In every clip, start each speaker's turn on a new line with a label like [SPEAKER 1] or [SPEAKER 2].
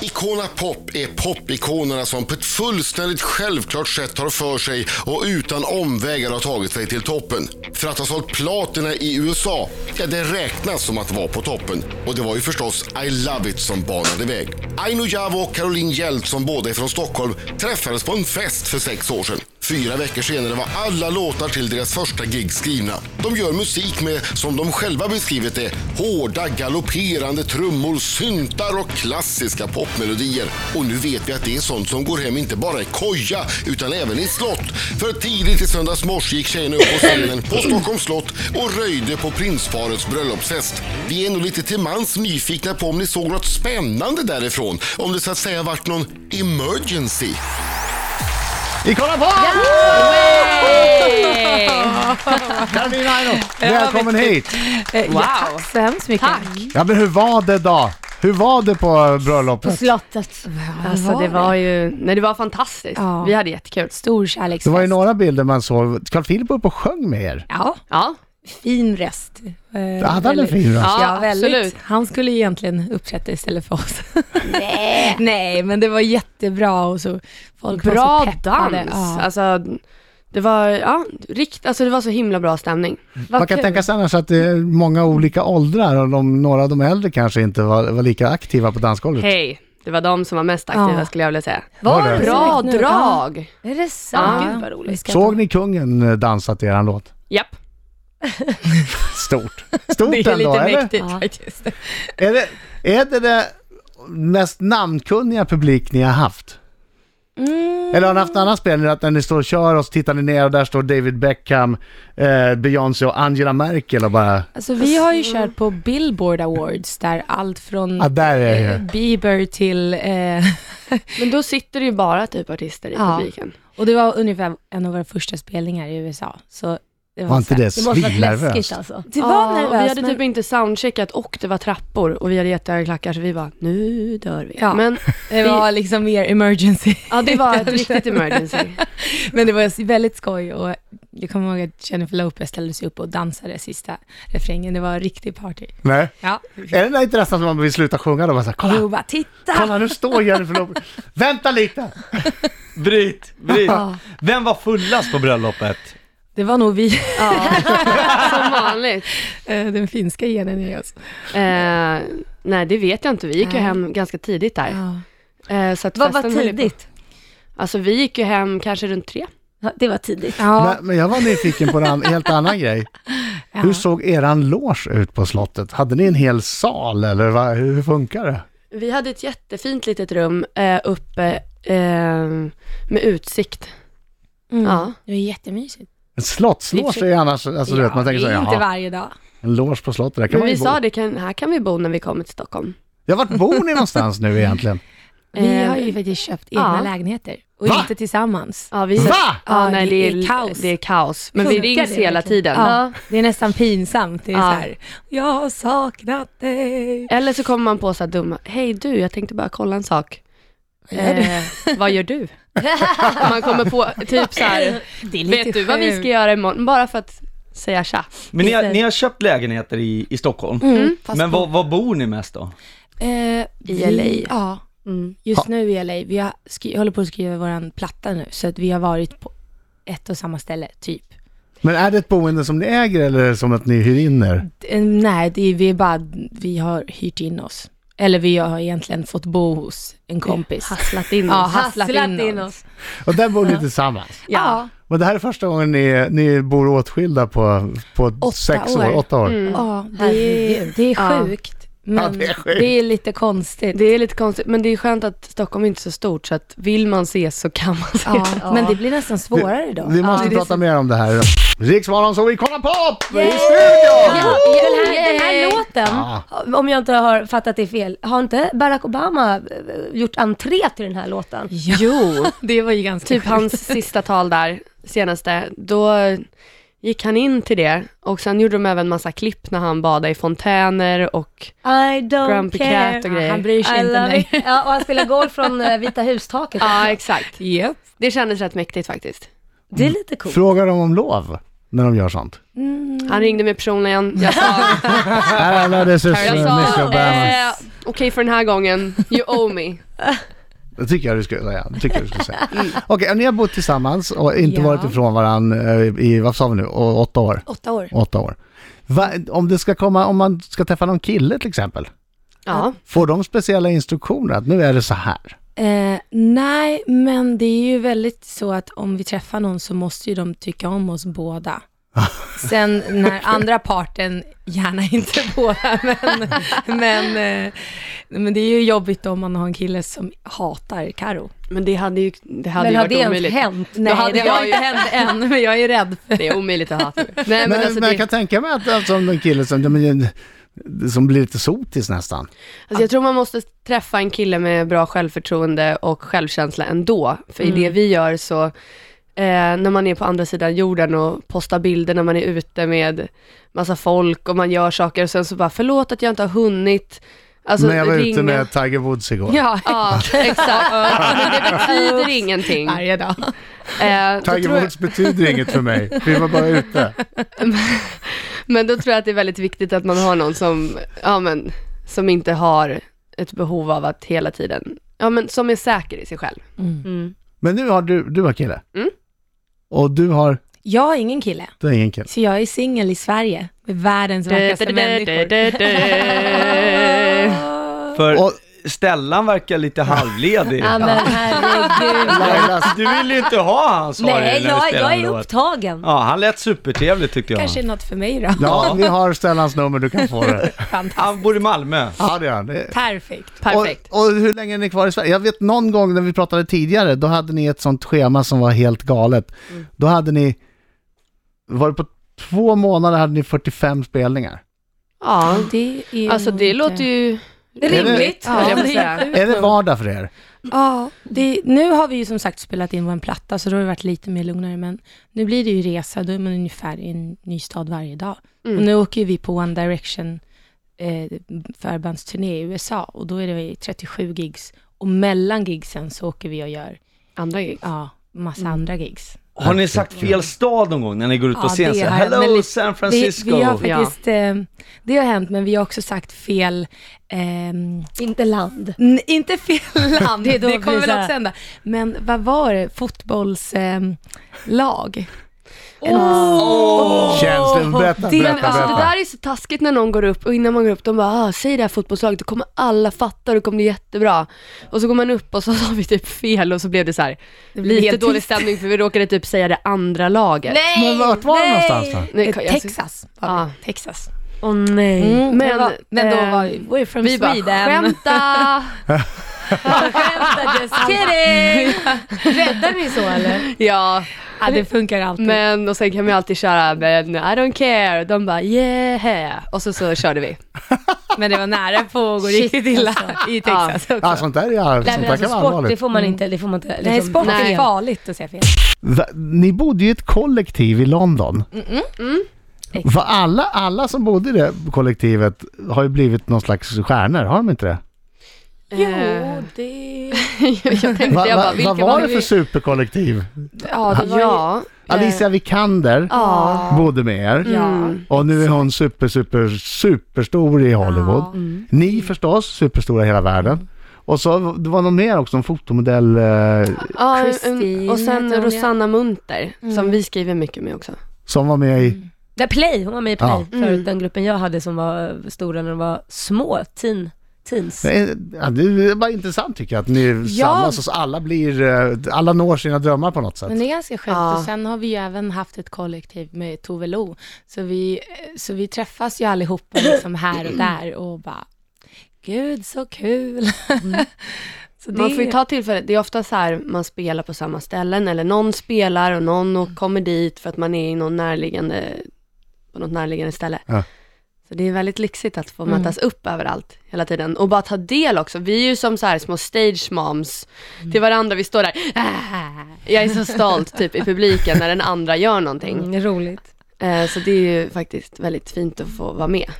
[SPEAKER 1] Icona Pop är popikonerna som på ett fullständigt självklart sätt tar för sig och utan omvägar har tagit sig till toppen. För att ha sålt platina i USA, ja det räknas som att vara på toppen. Och det var ju förstås I Love It som banade väg. Aino Javo och Caroline Hjelt som båda är från Stockholm träffades på en fest för sex år sedan. Fyra veckor senare var alla låtar till deras första gig skrivna. De gör musik med, som de själva beskrivit det, hårda galopperande trummor, syntar och klassiska popmelodier. Och nu vet vi att det är sånt som går hem inte bara i koja utan även i slott. För tidigt i söndags morse gick tjejerna upp på scenen på Stockholms slott och röjde på prinsparets bröllopsfest. Vi är nog lite till mans nyfikna på om ni såg något spännande därifrån. Om det så att säga vart någon emergency.
[SPEAKER 2] Ikola Pop! Carolina Aino, välkommen hit!
[SPEAKER 3] Eh,
[SPEAKER 4] Wow.
[SPEAKER 3] Ja, tack så hemskt mycket.
[SPEAKER 4] Tack.
[SPEAKER 2] Ja men hur var det då? Hur var det på
[SPEAKER 5] På
[SPEAKER 2] bröllopet?
[SPEAKER 5] slottet.
[SPEAKER 3] Alltså det var ju, nej det var fantastiskt.
[SPEAKER 5] Ja.
[SPEAKER 3] Vi hade jättekul.
[SPEAKER 5] Stor
[SPEAKER 2] Det
[SPEAKER 5] kärleksfest.
[SPEAKER 2] var ju några bilder man såg. Carl Philip var uppe och sjöng med er.
[SPEAKER 5] Ja,
[SPEAKER 3] Ja,
[SPEAKER 5] fin rest. Eh,
[SPEAKER 2] hade han en
[SPEAKER 5] väldigt-
[SPEAKER 2] fin röst?
[SPEAKER 3] Ja,
[SPEAKER 5] Ja, väldigt.
[SPEAKER 3] absolut.
[SPEAKER 5] Han skulle ju egentligen uppträda istället för oss. Nej. Nej, men det var jättebra och så folk var
[SPEAKER 3] bra
[SPEAKER 5] så peppade.
[SPEAKER 3] dans.
[SPEAKER 5] Ja.
[SPEAKER 3] Alltså, det var, ja, rikt, alltså det var så himla bra stämning. Vad
[SPEAKER 2] Man kan
[SPEAKER 3] kul.
[SPEAKER 2] tänka sig annars att det är många olika åldrar och de, några av de äldre kanske inte var, var lika aktiva på dansgolvet.
[SPEAKER 3] Hej, det var de som var mest aktiva
[SPEAKER 5] Ja.
[SPEAKER 3] skulle jag vilja säga.
[SPEAKER 2] Var det?
[SPEAKER 3] Bra
[SPEAKER 5] Nu, ja.
[SPEAKER 3] drag!
[SPEAKER 5] Är det sant?
[SPEAKER 3] Ja.
[SPEAKER 5] Gud vad roligt.
[SPEAKER 2] Såg ni kungen eh, dansa till eran låt?
[SPEAKER 3] Japp.
[SPEAKER 2] Stort. Stort ändå, eller?
[SPEAKER 5] Ja.
[SPEAKER 4] faktiskt.
[SPEAKER 2] Är det, är det det mest namnkunniga publik ni har haft?
[SPEAKER 3] Mm.
[SPEAKER 2] Eller har ni haft en annan spelning att när ni står och kör och så tittar ni ner och där står David Beckham, eh, Beyoncé och Angela Merkel och bara...
[SPEAKER 5] Alltså, vi har ju kört på Billboard Awards där allt från
[SPEAKER 2] Ja, där är jag
[SPEAKER 5] eh,
[SPEAKER 2] ju.
[SPEAKER 5] Bieber till... Eh,
[SPEAKER 3] Men då sitter det ju bara typ artister i
[SPEAKER 5] Ja.
[SPEAKER 3] publiken.
[SPEAKER 5] och det var ungefär en av våra första spelningar i USA. Så det var,
[SPEAKER 2] Var inte
[SPEAKER 5] så här-
[SPEAKER 2] det
[SPEAKER 6] Det måste varit läskigt
[SPEAKER 2] svinnervöst?
[SPEAKER 6] alltså.
[SPEAKER 5] Det var
[SPEAKER 3] Ja, och
[SPEAKER 5] nervöst,
[SPEAKER 3] vi hade
[SPEAKER 5] men-
[SPEAKER 3] typ inte soundcheckat och det var trappor och vi hade jättehöga klackar så vi bara, nu dör vi.
[SPEAKER 5] Ja.
[SPEAKER 3] Men
[SPEAKER 5] Det var liksom mer emergency.
[SPEAKER 3] ja, det var ett riktigt emergency.
[SPEAKER 5] Men det var väldigt skoj och jag kommer ihåg att Jennifer Lopez ställde sig upp och dansade sista refrängen. Det var riktig party.
[SPEAKER 2] Nej.
[SPEAKER 5] Ja.
[SPEAKER 2] Är det där inte nästan som man vill sluta sjunga då? Bara så här, kolla,
[SPEAKER 5] Jo, bara titta!
[SPEAKER 2] kolla nu står Jennifer Lopez. Vänta lite!
[SPEAKER 7] Bryt, bryt. Vem var fullast på bröllopet?
[SPEAKER 5] Det var nog vi,
[SPEAKER 3] Ja, som vanligt.
[SPEAKER 5] eh, den finska genen i oss.
[SPEAKER 3] Eh, nej, det vet jag inte. Vi gick ju
[SPEAKER 5] Nej.
[SPEAKER 3] hem ganska tidigt där.
[SPEAKER 5] Ja.
[SPEAKER 3] Eh, så att
[SPEAKER 6] Vad var
[SPEAKER 3] festen höll ju på-
[SPEAKER 6] tidigt?
[SPEAKER 3] Alltså vi gick ju hem kanske runt tre.
[SPEAKER 6] Ja, Det var tidigt.
[SPEAKER 2] Men, men jag var nyfiken på en annan- helt annan grej. Hur såg eran loge ut på slottet? Hade ni en hel sal eller vad, hur funkar det?
[SPEAKER 3] Vi hade ett jättefint litet rum eh, uppe eh, med utsikt.
[SPEAKER 5] Mm.
[SPEAKER 3] Ja.
[SPEAKER 5] Det var jättemysigt.
[SPEAKER 2] En slottsloge är ju annars, alltså du vet, man tänker så
[SPEAKER 5] det
[SPEAKER 2] här,
[SPEAKER 5] är inte
[SPEAKER 2] jaha,
[SPEAKER 5] varje dag.
[SPEAKER 2] en loge på slottet, där kan
[SPEAKER 3] Men
[SPEAKER 2] man
[SPEAKER 3] vi
[SPEAKER 2] ju bo.
[SPEAKER 3] sa det, kan, här kan vi bo när vi kommer till Stockholm.
[SPEAKER 2] Ja, vart bor ni någonstans nu egentligen?
[SPEAKER 5] Vi
[SPEAKER 3] Eh,
[SPEAKER 5] har ju faktiskt köpt
[SPEAKER 3] ja.
[SPEAKER 5] egna lägenheter och
[SPEAKER 2] Va?
[SPEAKER 5] inte tillsammans.
[SPEAKER 3] Ja, vi,
[SPEAKER 2] Va?
[SPEAKER 3] Ja,
[SPEAKER 5] Ja,
[SPEAKER 3] nej,
[SPEAKER 5] det
[SPEAKER 3] det är,
[SPEAKER 5] är kaos.
[SPEAKER 3] Det är kaos. Men vi
[SPEAKER 5] Funkar
[SPEAKER 3] rings
[SPEAKER 5] det
[SPEAKER 3] hela
[SPEAKER 5] verkligen?
[SPEAKER 3] tiden.
[SPEAKER 5] Ja. Det är nästan pinsamt. Det är
[SPEAKER 3] Ja.
[SPEAKER 5] så här, jag har saknat dig.
[SPEAKER 3] Eller så kommer man på så här dumma, hej du, jag tänkte bara kolla en sak. Eh, vad gör du? man kommer på typ så här,
[SPEAKER 5] Det är lite
[SPEAKER 3] vet du vad vi
[SPEAKER 5] sjukt.
[SPEAKER 3] ska göra imorgon? Bara för att säga tja.
[SPEAKER 7] Men ni har,
[SPEAKER 5] Inte.
[SPEAKER 7] ni har köpt lägenheter i, i Stockholm.
[SPEAKER 5] Mm.
[SPEAKER 2] Mm.
[SPEAKER 7] Men var, var bor ni mest då?
[SPEAKER 5] Eh, vi,
[SPEAKER 3] LA.
[SPEAKER 5] Ja,
[SPEAKER 3] Mm.
[SPEAKER 5] just nu i LA. Vi har skri- håller på att skriva vår platta nu, så att vi har varit på ett och samma ställe, typ.
[SPEAKER 2] Men är det ett boende som ni äger eller är det som att ni hyr in er?
[SPEAKER 5] Eh, nej, det är, vi är bara, vi har hyrt in oss. Eller vi har egentligen fått bo hos en kompis.
[SPEAKER 3] Hasslat in
[SPEAKER 5] Ja,
[SPEAKER 3] oss.
[SPEAKER 5] hasslat, in, oss.
[SPEAKER 2] Och där bor ni tillsammans?
[SPEAKER 5] Ja,
[SPEAKER 2] Men det här är första gången ni, ni bor åtskilda på, på
[SPEAKER 5] Åtta
[SPEAKER 2] sex år,
[SPEAKER 5] år. Mm.
[SPEAKER 2] åtta år.
[SPEAKER 5] ja det, är, det är
[SPEAKER 3] Ja.
[SPEAKER 5] sjukt. Men
[SPEAKER 2] Mm. Ja, det är sjukt.
[SPEAKER 5] lite konstigt.
[SPEAKER 3] Det är lite konstigt, men det är skönt att Stockholm är inte är så stort, så att vill man ses så kan man ses.
[SPEAKER 5] Ja, Men det blir nästan svårare då.
[SPEAKER 2] Vi måste
[SPEAKER 5] ja.
[SPEAKER 2] prata mer om det här. Riksmorgon så vi kollar på! I studion!
[SPEAKER 6] Ja, den, här, den
[SPEAKER 5] Yay!
[SPEAKER 6] här låten, om jag inte har fattat det fel, har inte Barack Obama eh, gjort entré till den här låten?
[SPEAKER 3] Jo,
[SPEAKER 5] Det var ju ganska
[SPEAKER 3] typ
[SPEAKER 5] sjukt.
[SPEAKER 3] hans sista tal där, senaste, då gick han in till det och sen gjorde de även massa klipp när han badade i fontäner och
[SPEAKER 6] I don't
[SPEAKER 3] Grumpy
[SPEAKER 6] care. Ah,
[SPEAKER 3] Cat och grejer.
[SPEAKER 5] Han bryr sig
[SPEAKER 6] I
[SPEAKER 5] inte om
[SPEAKER 6] love it.
[SPEAKER 5] dig.
[SPEAKER 6] Ja, och han spelar golf från eh, Vita hustaket.
[SPEAKER 3] Ah. Ja, exakt.
[SPEAKER 5] Japp.
[SPEAKER 3] Det kändes rätt mäktigt faktiskt.
[SPEAKER 6] Det är lite coolt.
[SPEAKER 2] Frågar de om lov? när de gör sånt?
[SPEAKER 3] Han ringde mig personligen. Jag sa,
[SPEAKER 2] I don't know, this is
[SPEAKER 3] jag
[SPEAKER 2] uh, Miss
[SPEAKER 3] sa
[SPEAKER 2] Obama.
[SPEAKER 3] eh, okej för den här gången, you owe me.
[SPEAKER 2] Det tycker jag du skulle säga. Det tycker jag du skulle säga. Okej, och ni har bott tillsammans och inte
[SPEAKER 5] Mm. Ja.
[SPEAKER 2] varit ifrån varandra i, vad sa vi nu, Å- åtta år?
[SPEAKER 5] Åtta år.
[SPEAKER 2] Åtta år. Va, om, det ska komma, om man ska träffa någon kille till exempel,
[SPEAKER 3] Ja.
[SPEAKER 2] får de speciella instruktioner att nu är det så här?
[SPEAKER 5] Eh, nej, men det är ju väldigt så att om vi träffar någon så måste ju de tycka om oss båda. Sen när andra parten, gärna inte båda, men, men, eh, men det är ju jobbigt om man har en kille som hatar Karo.
[SPEAKER 3] Men det hade ju, det hade
[SPEAKER 6] Men
[SPEAKER 3] ju
[SPEAKER 6] har
[SPEAKER 3] varit
[SPEAKER 6] det ens
[SPEAKER 3] omöjligt.
[SPEAKER 6] hänt?
[SPEAKER 5] Nej,
[SPEAKER 3] hade
[SPEAKER 5] det har
[SPEAKER 3] jag ju-
[SPEAKER 5] inte hänt än, men jag är rädd för
[SPEAKER 3] Det är omöjligt att hata. Nej men,
[SPEAKER 2] Men, men,
[SPEAKER 3] alltså, det,
[SPEAKER 2] jag kan tänka mig att alltså, om det är en kille som, ja, men, som blir lite sotis nästan.
[SPEAKER 3] alltså, jag tror man måste träffa en kille med bra självförtroende och självkänsla ändå. För i det vi gör så, eh, när man är på andra sidan jorden och postar bilder när man är ute med massa folk och man gör saker och sen så bara, förlåt att jag inte har hunnit. Alltså,
[SPEAKER 2] När jag var ute
[SPEAKER 3] ringa.
[SPEAKER 2] med Tiger Woods igår.
[SPEAKER 3] Ja, exakt. Men det betyder ingenting.
[SPEAKER 5] varje dag.
[SPEAKER 3] Eh,
[SPEAKER 2] Tiger
[SPEAKER 3] då tror jag-
[SPEAKER 2] Woods betyder inget för mig, vi var bara ute.
[SPEAKER 3] Men då tror jag att det är väldigt viktigt att man har någon som, ja men, som inte har ett behov av att hela tiden, ja men som är säker i sig själv.
[SPEAKER 2] Men nu har du, du har kille.
[SPEAKER 3] Mm.
[SPEAKER 2] Och du har,
[SPEAKER 5] Jag har ingen kille,
[SPEAKER 2] du har ingen kille.
[SPEAKER 5] så jag är singel i Sverige med världens vackraste människor.
[SPEAKER 7] För
[SPEAKER 2] Och-
[SPEAKER 7] Stellan verkar lite halvledig.
[SPEAKER 6] Ja men herregud.
[SPEAKER 2] Lailas
[SPEAKER 7] Du vill ju inte ha hans sorg när
[SPEAKER 6] Nej,
[SPEAKER 7] du
[SPEAKER 6] jag,
[SPEAKER 7] spelar
[SPEAKER 6] jag
[SPEAKER 7] en
[SPEAKER 6] är
[SPEAKER 7] låt.
[SPEAKER 6] upptagen.
[SPEAKER 7] Ja, han lät supertrevlig tyckte jag.
[SPEAKER 5] Kanske är något för mig då.
[SPEAKER 2] Ja, vi har Stellans nummer, du kan få det.
[SPEAKER 5] Fantastiskt.
[SPEAKER 7] Han bor i Malmö.
[SPEAKER 2] Ja, det gör han. Det-
[SPEAKER 5] Perfekt.
[SPEAKER 3] Perfekt.
[SPEAKER 2] Och, och hur länge är ni kvar i Sverige? Jag vet någon gång när vi pratade tidigare, då hade ni ett sånt schema som var helt galet. Då hade ni, var det på två månader hade ni 45 spelningar.
[SPEAKER 3] Ja,
[SPEAKER 5] Det är
[SPEAKER 3] alltså
[SPEAKER 5] nog
[SPEAKER 3] det
[SPEAKER 5] inte-
[SPEAKER 3] låter ju,
[SPEAKER 6] Det är rimligt.
[SPEAKER 3] Ja, höll jag på att
[SPEAKER 5] det är
[SPEAKER 3] säga.
[SPEAKER 2] Är det vardag för er?
[SPEAKER 5] Ja, det, nu har vi ju som sagt spelat in vår platta, så då har det varit lite mer lugnare, men nu blir det ju resa, då är man ungefär i en ny stad varje dag.
[SPEAKER 3] Mm.
[SPEAKER 5] Och nu åker ju vi på One Direction eh, förbandsturné i USA, och då är det 37 gigs, och mellan gigsen så åker vi och gör,
[SPEAKER 3] andra gig.
[SPEAKER 5] ja, massa andra gigs.
[SPEAKER 7] Har ni sagt fel stad någon gång när ni går ut på
[SPEAKER 5] Ja,
[SPEAKER 7] scen?
[SPEAKER 5] det
[SPEAKER 7] Så,
[SPEAKER 5] har jag, men
[SPEAKER 7] Hello
[SPEAKER 5] lite-
[SPEAKER 7] San
[SPEAKER 5] Det, vi har
[SPEAKER 7] Francisco!
[SPEAKER 5] faktiskt, eh, det har hänt, men vi har också sagt fel, ehm,
[SPEAKER 6] Inte land.
[SPEAKER 5] N- inte fel land,
[SPEAKER 6] Det är
[SPEAKER 5] det,
[SPEAKER 6] då vi
[SPEAKER 5] kommer väl
[SPEAKER 6] så här-
[SPEAKER 5] också hända. Men vad var det? ehm, Fotbollslag?
[SPEAKER 2] Känns det? Berätta,
[SPEAKER 5] det-
[SPEAKER 2] berätta,
[SPEAKER 3] Alltså, det
[SPEAKER 2] berätta.
[SPEAKER 3] där är så taskigt när någon går upp och innan man går upp, de bara ah, “säg det här fotbollslaget, då kommer alla fatta och det kommer bli jättebra”. Och så går man upp och så sa vi typ fel och så blev det så här
[SPEAKER 5] blev
[SPEAKER 3] lite
[SPEAKER 5] helt
[SPEAKER 3] dålig
[SPEAKER 5] tyst.
[SPEAKER 3] stämning för vi råkade typ säga det andra laget.
[SPEAKER 2] Men vart var det någonstans då?
[SPEAKER 3] Nej, jag- jag-
[SPEAKER 5] Texas.
[SPEAKER 3] Ja.
[SPEAKER 5] Texas.
[SPEAKER 6] Åh nej.
[SPEAKER 3] Mm,
[SPEAKER 5] Men,
[SPEAKER 3] men,
[SPEAKER 5] men då
[SPEAKER 3] eh,
[SPEAKER 5] var vi, we're from
[SPEAKER 3] vi bara
[SPEAKER 5] Sweden.
[SPEAKER 3] “skämta”.
[SPEAKER 6] Vänta, just kidding! Räddar ni så eller?
[SPEAKER 3] Ja,
[SPEAKER 5] ja, det funkar alltid.
[SPEAKER 3] men och sen kan man ju alltid köra men I don't care. De bara yeah. Och så, så körde vi.
[SPEAKER 5] Men det var nära på att gå riktigt illa i Texas. också.
[SPEAKER 2] Ja, sånt där, ja,
[SPEAKER 6] Nej
[SPEAKER 2] sånt
[SPEAKER 6] men
[SPEAKER 2] där
[SPEAKER 6] alltså
[SPEAKER 2] kan vara
[SPEAKER 6] sport, det
[SPEAKER 2] allvarligt.
[SPEAKER 6] får man inte, det får man inte. Liksom,
[SPEAKER 5] Nej, sport
[SPEAKER 3] Nej.
[SPEAKER 5] är farligt att säga fel.
[SPEAKER 2] Va, ni bodde ju i ett kollektiv i London. Va, alla, alla som bodde i det kollektivet har ju blivit någon slags stjärnor, har de inte det?
[SPEAKER 3] Eh,
[SPEAKER 5] det...
[SPEAKER 3] jag tänkte
[SPEAKER 2] Va,
[SPEAKER 3] jag
[SPEAKER 2] va,
[SPEAKER 3] bara, vilka
[SPEAKER 2] vad var det för superkollektiv?
[SPEAKER 5] Ja, det var ju...
[SPEAKER 3] Ja.
[SPEAKER 2] Alicia Vikander
[SPEAKER 3] Ja.
[SPEAKER 2] bodde med er
[SPEAKER 5] Eh,
[SPEAKER 2] Mm.
[SPEAKER 5] Ja.
[SPEAKER 2] och nu är hon super, super, superstor i Hollywood.
[SPEAKER 5] Mm.
[SPEAKER 2] Ni förstås, superstora i hela världen. Och så det var någon mer också, en fotomodell. eh,
[SPEAKER 3] Ja,
[SPEAKER 5] Christine
[SPEAKER 3] um,
[SPEAKER 5] Mm.
[SPEAKER 3] och sen
[SPEAKER 5] heter hon,
[SPEAKER 3] Rosanna Munter, som vi skriver mycket med också.
[SPEAKER 2] som var med i...
[SPEAKER 5] Mm.
[SPEAKER 6] Nej, Play, hon var med i Play
[SPEAKER 2] Ja.
[SPEAKER 6] förut, den gruppen jag hade som var stora när de var små, teen, teens.
[SPEAKER 2] Nej, Ja, det var intressant tycker jag att ni
[SPEAKER 5] Ja.
[SPEAKER 2] samlas och så alla blir, eh, alla når sina drömmar på något sätt.
[SPEAKER 5] Men det är ganska skönt.
[SPEAKER 3] Ja.
[SPEAKER 5] Och sen har vi ju även haft ett kollektiv med Tove Lo. Så vi, så vi träffas ju allihopa liksom här och där och bara, gud så kul. så det,
[SPEAKER 3] Mm. Man får ju ta tillfället, det är ofta så här man spelar på samma ställen eller någon spelar och någon och kommer dit för att man är i någon närliggande, på något närliggande ställe.
[SPEAKER 2] Ja.
[SPEAKER 3] Så det är väldigt lyxigt att få mötas upp överallt hela tiden och bara ta del också. Vi är ju som så här små stage moms till varandra, vi står där, "Ah!" jag är så stolt typ i publiken när den andra gör någonting.
[SPEAKER 6] Mm, roligt.
[SPEAKER 3] Eh, Så det är ju faktiskt väldigt fint att få vara med.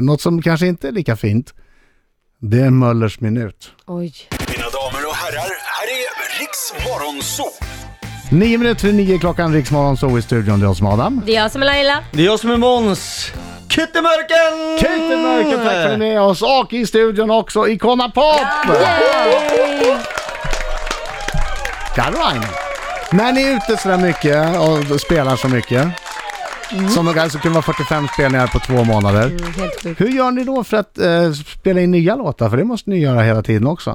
[SPEAKER 2] Något som kanske inte är lika fint, det är Möllers minut.
[SPEAKER 6] Oj.
[SPEAKER 4] Mina damer och herrar, här är Riks Morgonzoo.
[SPEAKER 2] Nio minuter i nio klockan, Riksmorgon, så i studion. Det är jag som är Adam.
[SPEAKER 6] Det är jag som är Laila.
[SPEAKER 7] Det är jag som är Måns. Kittemörken!
[SPEAKER 2] Kate Mörker, tack för att ni är med oss. Och i studion också, Icona Pop! Caroline, när ni är ute sådär mycket och spelar så mycket, som nog alltså kunde vara 45 spelningar på två månader.
[SPEAKER 6] Mm. Helt sjukt.
[SPEAKER 2] Hur gör ni då för att eh, spela in nya låtar? För det måste ni göra hela tiden också.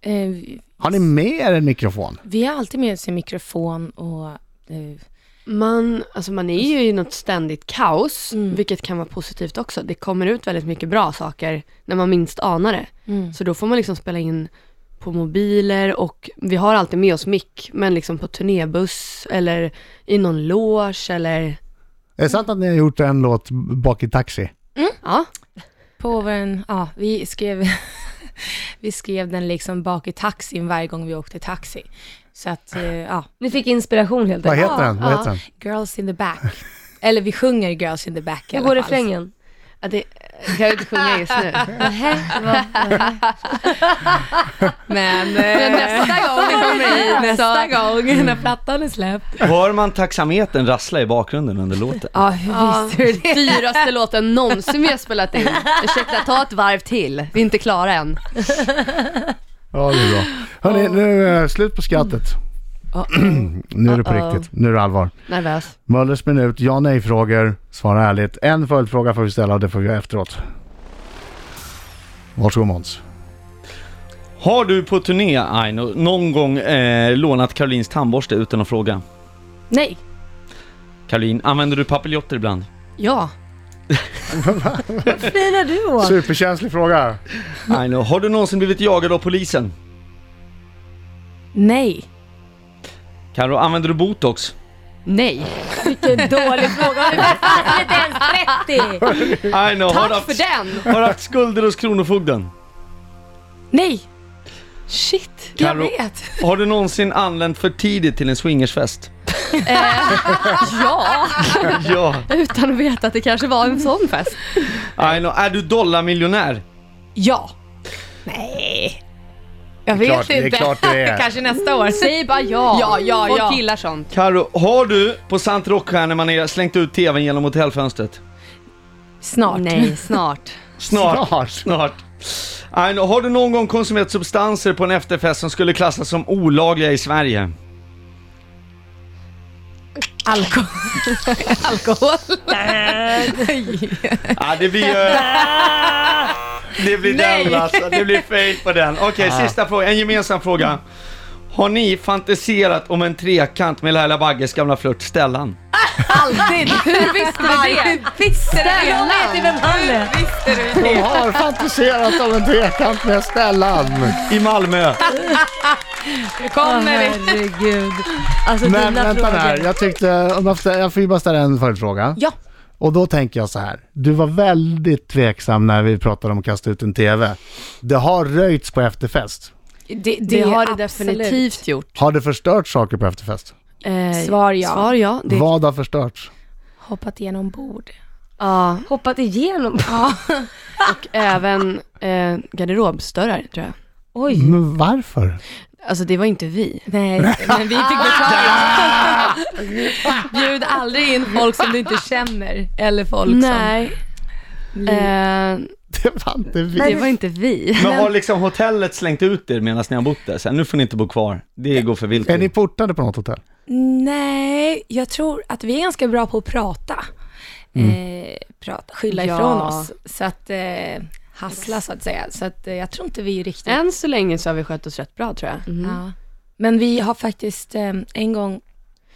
[SPEAKER 5] Eh, vi-
[SPEAKER 2] Har ni med er en mikrofon?
[SPEAKER 5] vi har alltid med oss en mikrofon och eh,
[SPEAKER 3] Man, alltså man är ju i något ständigt kaos, vilket kan vara positivt också. Det kommer ut väldigt mycket bra saker när man minst anar det. Så då får man liksom spela in på mobiler och vi har alltid med oss mick, men liksom på turnébuss eller i någon loge eller
[SPEAKER 2] Är det sant att ni har gjort en låt bak i taxi?
[SPEAKER 3] ja.
[SPEAKER 5] på vår, ja, vi skrev, vi skrev den liksom bak i taxin varje gång vi åkte taxi. Så att, eh, ja,
[SPEAKER 6] Ni fick inspiration helt
[SPEAKER 2] Vad
[SPEAKER 6] enkelt.
[SPEAKER 2] heter den? Vad heter den?
[SPEAKER 5] girls in the back. Eller vi sjunger girls in the back i
[SPEAKER 6] Hur
[SPEAKER 5] alla
[SPEAKER 6] går
[SPEAKER 5] fall.
[SPEAKER 6] refrängen?
[SPEAKER 3] Ja, det kan jag inte sjunga just nu.
[SPEAKER 5] Men eh,
[SPEAKER 3] nästa gång det kommer hit
[SPEAKER 5] nästa gång när plattan är släppt.
[SPEAKER 7] Hör man taxametern rassla i bakgrunden under låten?
[SPEAKER 5] Ja, hur
[SPEAKER 3] Ja,
[SPEAKER 5] visste du det?
[SPEAKER 3] dyraste låten någonsin vi har spelat in. Ursäkta, ta ett varv till. Vi är inte klara än.
[SPEAKER 2] Ja, det är bra. Hörni, nu är det slut på skrattet. nu är det på
[SPEAKER 3] Uh-oh.
[SPEAKER 2] riktigt. Nu är det allvar.
[SPEAKER 3] Nervös.
[SPEAKER 2] Möllers minut, ja nej-frågor. Svara ärligt. En följdfråga får vi ställa och det får vi göra efteråt. Varsågod Måns.
[SPEAKER 7] Har du på turné, Aino, någon gång eh, lånat Karolins tandborste utan att fråga?
[SPEAKER 5] Nej.
[SPEAKER 7] Karolin, använder du papiljotter ibland?
[SPEAKER 3] Ja.
[SPEAKER 6] Flinar du åt?
[SPEAKER 2] Superkänslig fråga.
[SPEAKER 7] Aino, har du någonsin blivit jagad av polisen?
[SPEAKER 5] Nej.
[SPEAKER 7] Karo, använder du botox?
[SPEAKER 3] Nej.
[SPEAKER 6] Vilken dålig fråga. Har du för fan inte ens 30?
[SPEAKER 7] Aino,
[SPEAKER 3] Tack
[SPEAKER 7] har du
[SPEAKER 3] för
[SPEAKER 7] haft,
[SPEAKER 3] den!
[SPEAKER 7] har du haft skulder hos Kronofogden?
[SPEAKER 5] Nej.
[SPEAKER 3] Shit.
[SPEAKER 5] Jag
[SPEAKER 7] Karo-
[SPEAKER 5] vet.
[SPEAKER 7] Har du någonsin anlänt för tidigt till en swingersfest?
[SPEAKER 3] Ja,
[SPEAKER 7] ja.
[SPEAKER 3] utan att veta att det kanske var en sån fest.
[SPEAKER 7] Aino, är du dollarmiljonär?
[SPEAKER 5] Ja. Nej. Jag vet
[SPEAKER 2] klart- det är
[SPEAKER 5] inte.
[SPEAKER 2] klart det är.
[SPEAKER 5] Kanske nästa år.
[SPEAKER 3] Säg bara ja.
[SPEAKER 5] Ja, ja,
[SPEAKER 3] Folk
[SPEAKER 5] ja.
[SPEAKER 3] gillar sånt.
[SPEAKER 7] Karo, har du på sant rockstjärnemanér slängt ut tvn genom hotellfönstret?
[SPEAKER 5] Snart.
[SPEAKER 3] Nej, snart.
[SPEAKER 7] Snart. Snart. Aino, har du någon gång konsumerat substanser på en efterfest som skulle klassas som olagliga i Sverige?
[SPEAKER 5] Alkohol. Alkohol.
[SPEAKER 7] Ja, det blir ju... Det blir
[SPEAKER 5] Nej.
[SPEAKER 7] den alltså. Det blir fail på den. Okej, sista fråga. En gemensam fråga. Har ni fantiserat om en trekant med Laila Bagges gamla flört Stellan?
[SPEAKER 5] Aldrig. Hur visste du det? Hur visste du det?
[SPEAKER 6] Jag vet inte vem han är.
[SPEAKER 5] visste du det?
[SPEAKER 2] De har fantiserat om en trekant med Stellan.
[SPEAKER 7] I
[SPEAKER 5] Nu
[SPEAKER 7] Malmö.
[SPEAKER 6] Åh,
[SPEAKER 5] kommer det.
[SPEAKER 6] herregud. Alltså
[SPEAKER 2] Men
[SPEAKER 6] dina
[SPEAKER 2] vänta
[SPEAKER 6] frågor.
[SPEAKER 2] där, jag tyckte, om jag, får- jag får ju bara ställa en följdfråga.
[SPEAKER 5] Ja.
[SPEAKER 2] Och då tänker jag så här, du var väldigt tveksam när vi pratade om att kasta ut en TV. Det har röjts på efterfest.
[SPEAKER 5] Det, det,
[SPEAKER 3] Det har det
[SPEAKER 5] absolut.
[SPEAKER 3] definitivt gjort.
[SPEAKER 2] Har det förstört saker på efterfest?
[SPEAKER 3] Eh,
[SPEAKER 5] Svar ja.
[SPEAKER 3] Svar ja. Det,
[SPEAKER 2] Vad har förstörts?
[SPEAKER 5] Hoppat igenom bord.
[SPEAKER 3] ja.
[SPEAKER 6] Hoppat igenom.
[SPEAKER 3] Och även eh, garderobsdörrar tror jag.
[SPEAKER 6] Oj.
[SPEAKER 2] Men varför?
[SPEAKER 3] Alltså det var inte vi.
[SPEAKER 5] Nej, men vi
[SPEAKER 6] Ah,
[SPEAKER 5] fick betala. Bjud aldrig in folk som du inte känner. Eller folk som...
[SPEAKER 3] Eh,
[SPEAKER 2] Det var inte vi.
[SPEAKER 3] det var inte vi.
[SPEAKER 7] Men har liksom hotellet slängt ut er medan ni har bott där? Så här, nu får ni inte bo kvar. Det går för vilt.
[SPEAKER 2] Är ni portade på något hotell?
[SPEAKER 5] Nej, jag tror att vi är ganska bra på att prata.
[SPEAKER 2] Mm.
[SPEAKER 5] Eh, prata skylla
[SPEAKER 3] Ja.
[SPEAKER 5] ifrån oss. Så att, eh, hassla så att säga. Så att, eh, jag tror inte vi riktigt...
[SPEAKER 3] Än så länge så har vi skött oss rätt bra tror jag.
[SPEAKER 5] Ja. Men vi har faktiskt eh, en gång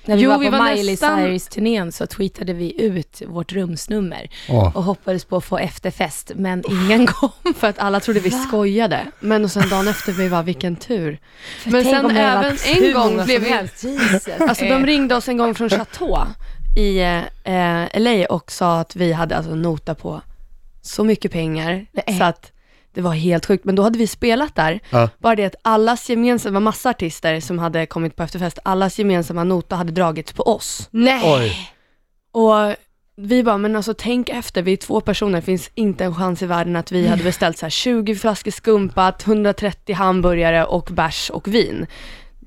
[SPEAKER 5] när vi
[SPEAKER 3] Jo,
[SPEAKER 5] var på
[SPEAKER 3] vi var
[SPEAKER 5] Miley
[SPEAKER 3] nästan-
[SPEAKER 5] Cyrus-turnén så tweetade vi ut vårt rumsnummer
[SPEAKER 2] Åh.
[SPEAKER 5] och hoppades på att få efterfest, men ingen kom.
[SPEAKER 3] För att alla trodde vi skojade. Men och sen dagen efter, vi bara vilken tur. Men
[SPEAKER 5] Tänk
[SPEAKER 3] sen
[SPEAKER 5] om det hade
[SPEAKER 3] även
[SPEAKER 5] varit hur
[SPEAKER 3] en gång
[SPEAKER 5] många
[SPEAKER 3] blev
[SPEAKER 5] som
[SPEAKER 3] vi...
[SPEAKER 5] helst. Jesus.
[SPEAKER 3] Alltså
[SPEAKER 5] Eh,
[SPEAKER 3] de ringde oss en gång från Chateau i eh, LA och sa att vi hade alltså en nota på så mycket pengar
[SPEAKER 5] Nej.
[SPEAKER 3] så att det var helt sjukt. Men då hade vi spelat där.
[SPEAKER 2] Ja.
[SPEAKER 3] Bara det att allas gemensamma, det var massa artister som hade kommit på efterfest, allas gemensamma nota hade dragits på oss.
[SPEAKER 6] Nej.
[SPEAKER 2] Oj.
[SPEAKER 3] Och vi bara, men alltså tänk efter, vi är två personer, det finns inte en chans i världen att vi hade beställt så här 20 flaskor skumpa, 130 hamburgare och bärs och vin.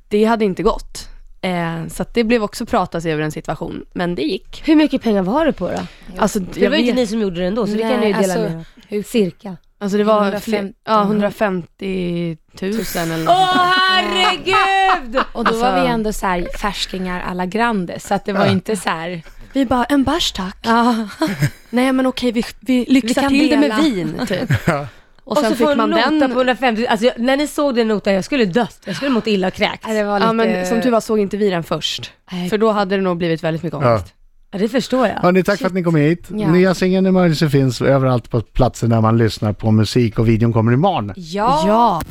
[SPEAKER 3] Det hade inte gått. Eh, så att det blev också pratas över en situation, men det gick.
[SPEAKER 6] Hur mycket pengar var det på då?
[SPEAKER 3] Alltså,
[SPEAKER 6] För det var ju inte ni som gjorde det ändå, så det kan ni ju
[SPEAKER 5] Nej,
[SPEAKER 6] dela
[SPEAKER 5] alltså,
[SPEAKER 6] med er av. Cirka.
[SPEAKER 3] Alltså det var
[SPEAKER 5] 150
[SPEAKER 3] 150,
[SPEAKER 6] Mm.
[SPEAKER 3] ja, 150 000 eller något.
[SPEAKER 6] herregud!
[SPEAKER 5] Och då var
[SPEAKER 3] Alltså-
[SPEAKER 5] vi ändå så här färskingar alla grande, så att det var inte så här...
[SPEAKER 3] Vi bara, en bärs tack. Nej men okej, vi, vi lyxar
[SPEAKER 5] kan
[SPEAKER 3] till det med
[SPEAKER 5] dela.
[SPEAKER 3] vin typ. Och
[SPEAKER 6] Och
[SPEAKER 3] sen
[SPEAKER 6] så
[SPEAKER 3] fick
[SPEAKER 6] får
[SPEAKER 3] man
[SPEAKER 6] man nota
[SPEAKER 3] den.
[SPEAKER 6] på 150 Alltså jag- när ni såg den notan, jag skulle dött. Jag skulle mått illa och kräkt.
[SPEAKER 5] Ja, det var lite...
[SPEAKER 3] Ja men som tur var såg inte vi den först. För då hade det nog blivit väldigt mycket
[SPEAKER 2] Ja.
[SPEAKER 3] ångest.
[SPEAKER 6] Ja, det förstår jag.
[SPEAKER 2] Hörni, tack för att ni kom hit.
[SPEAKER 5] Ja.
[SPEAKER 2] Nya singeln Emergency finns överallt på platser där man lyssnar på musik och videon kommer imorgon.
[SPEAKER 5] Ja.
[SPEAKER 3] ja.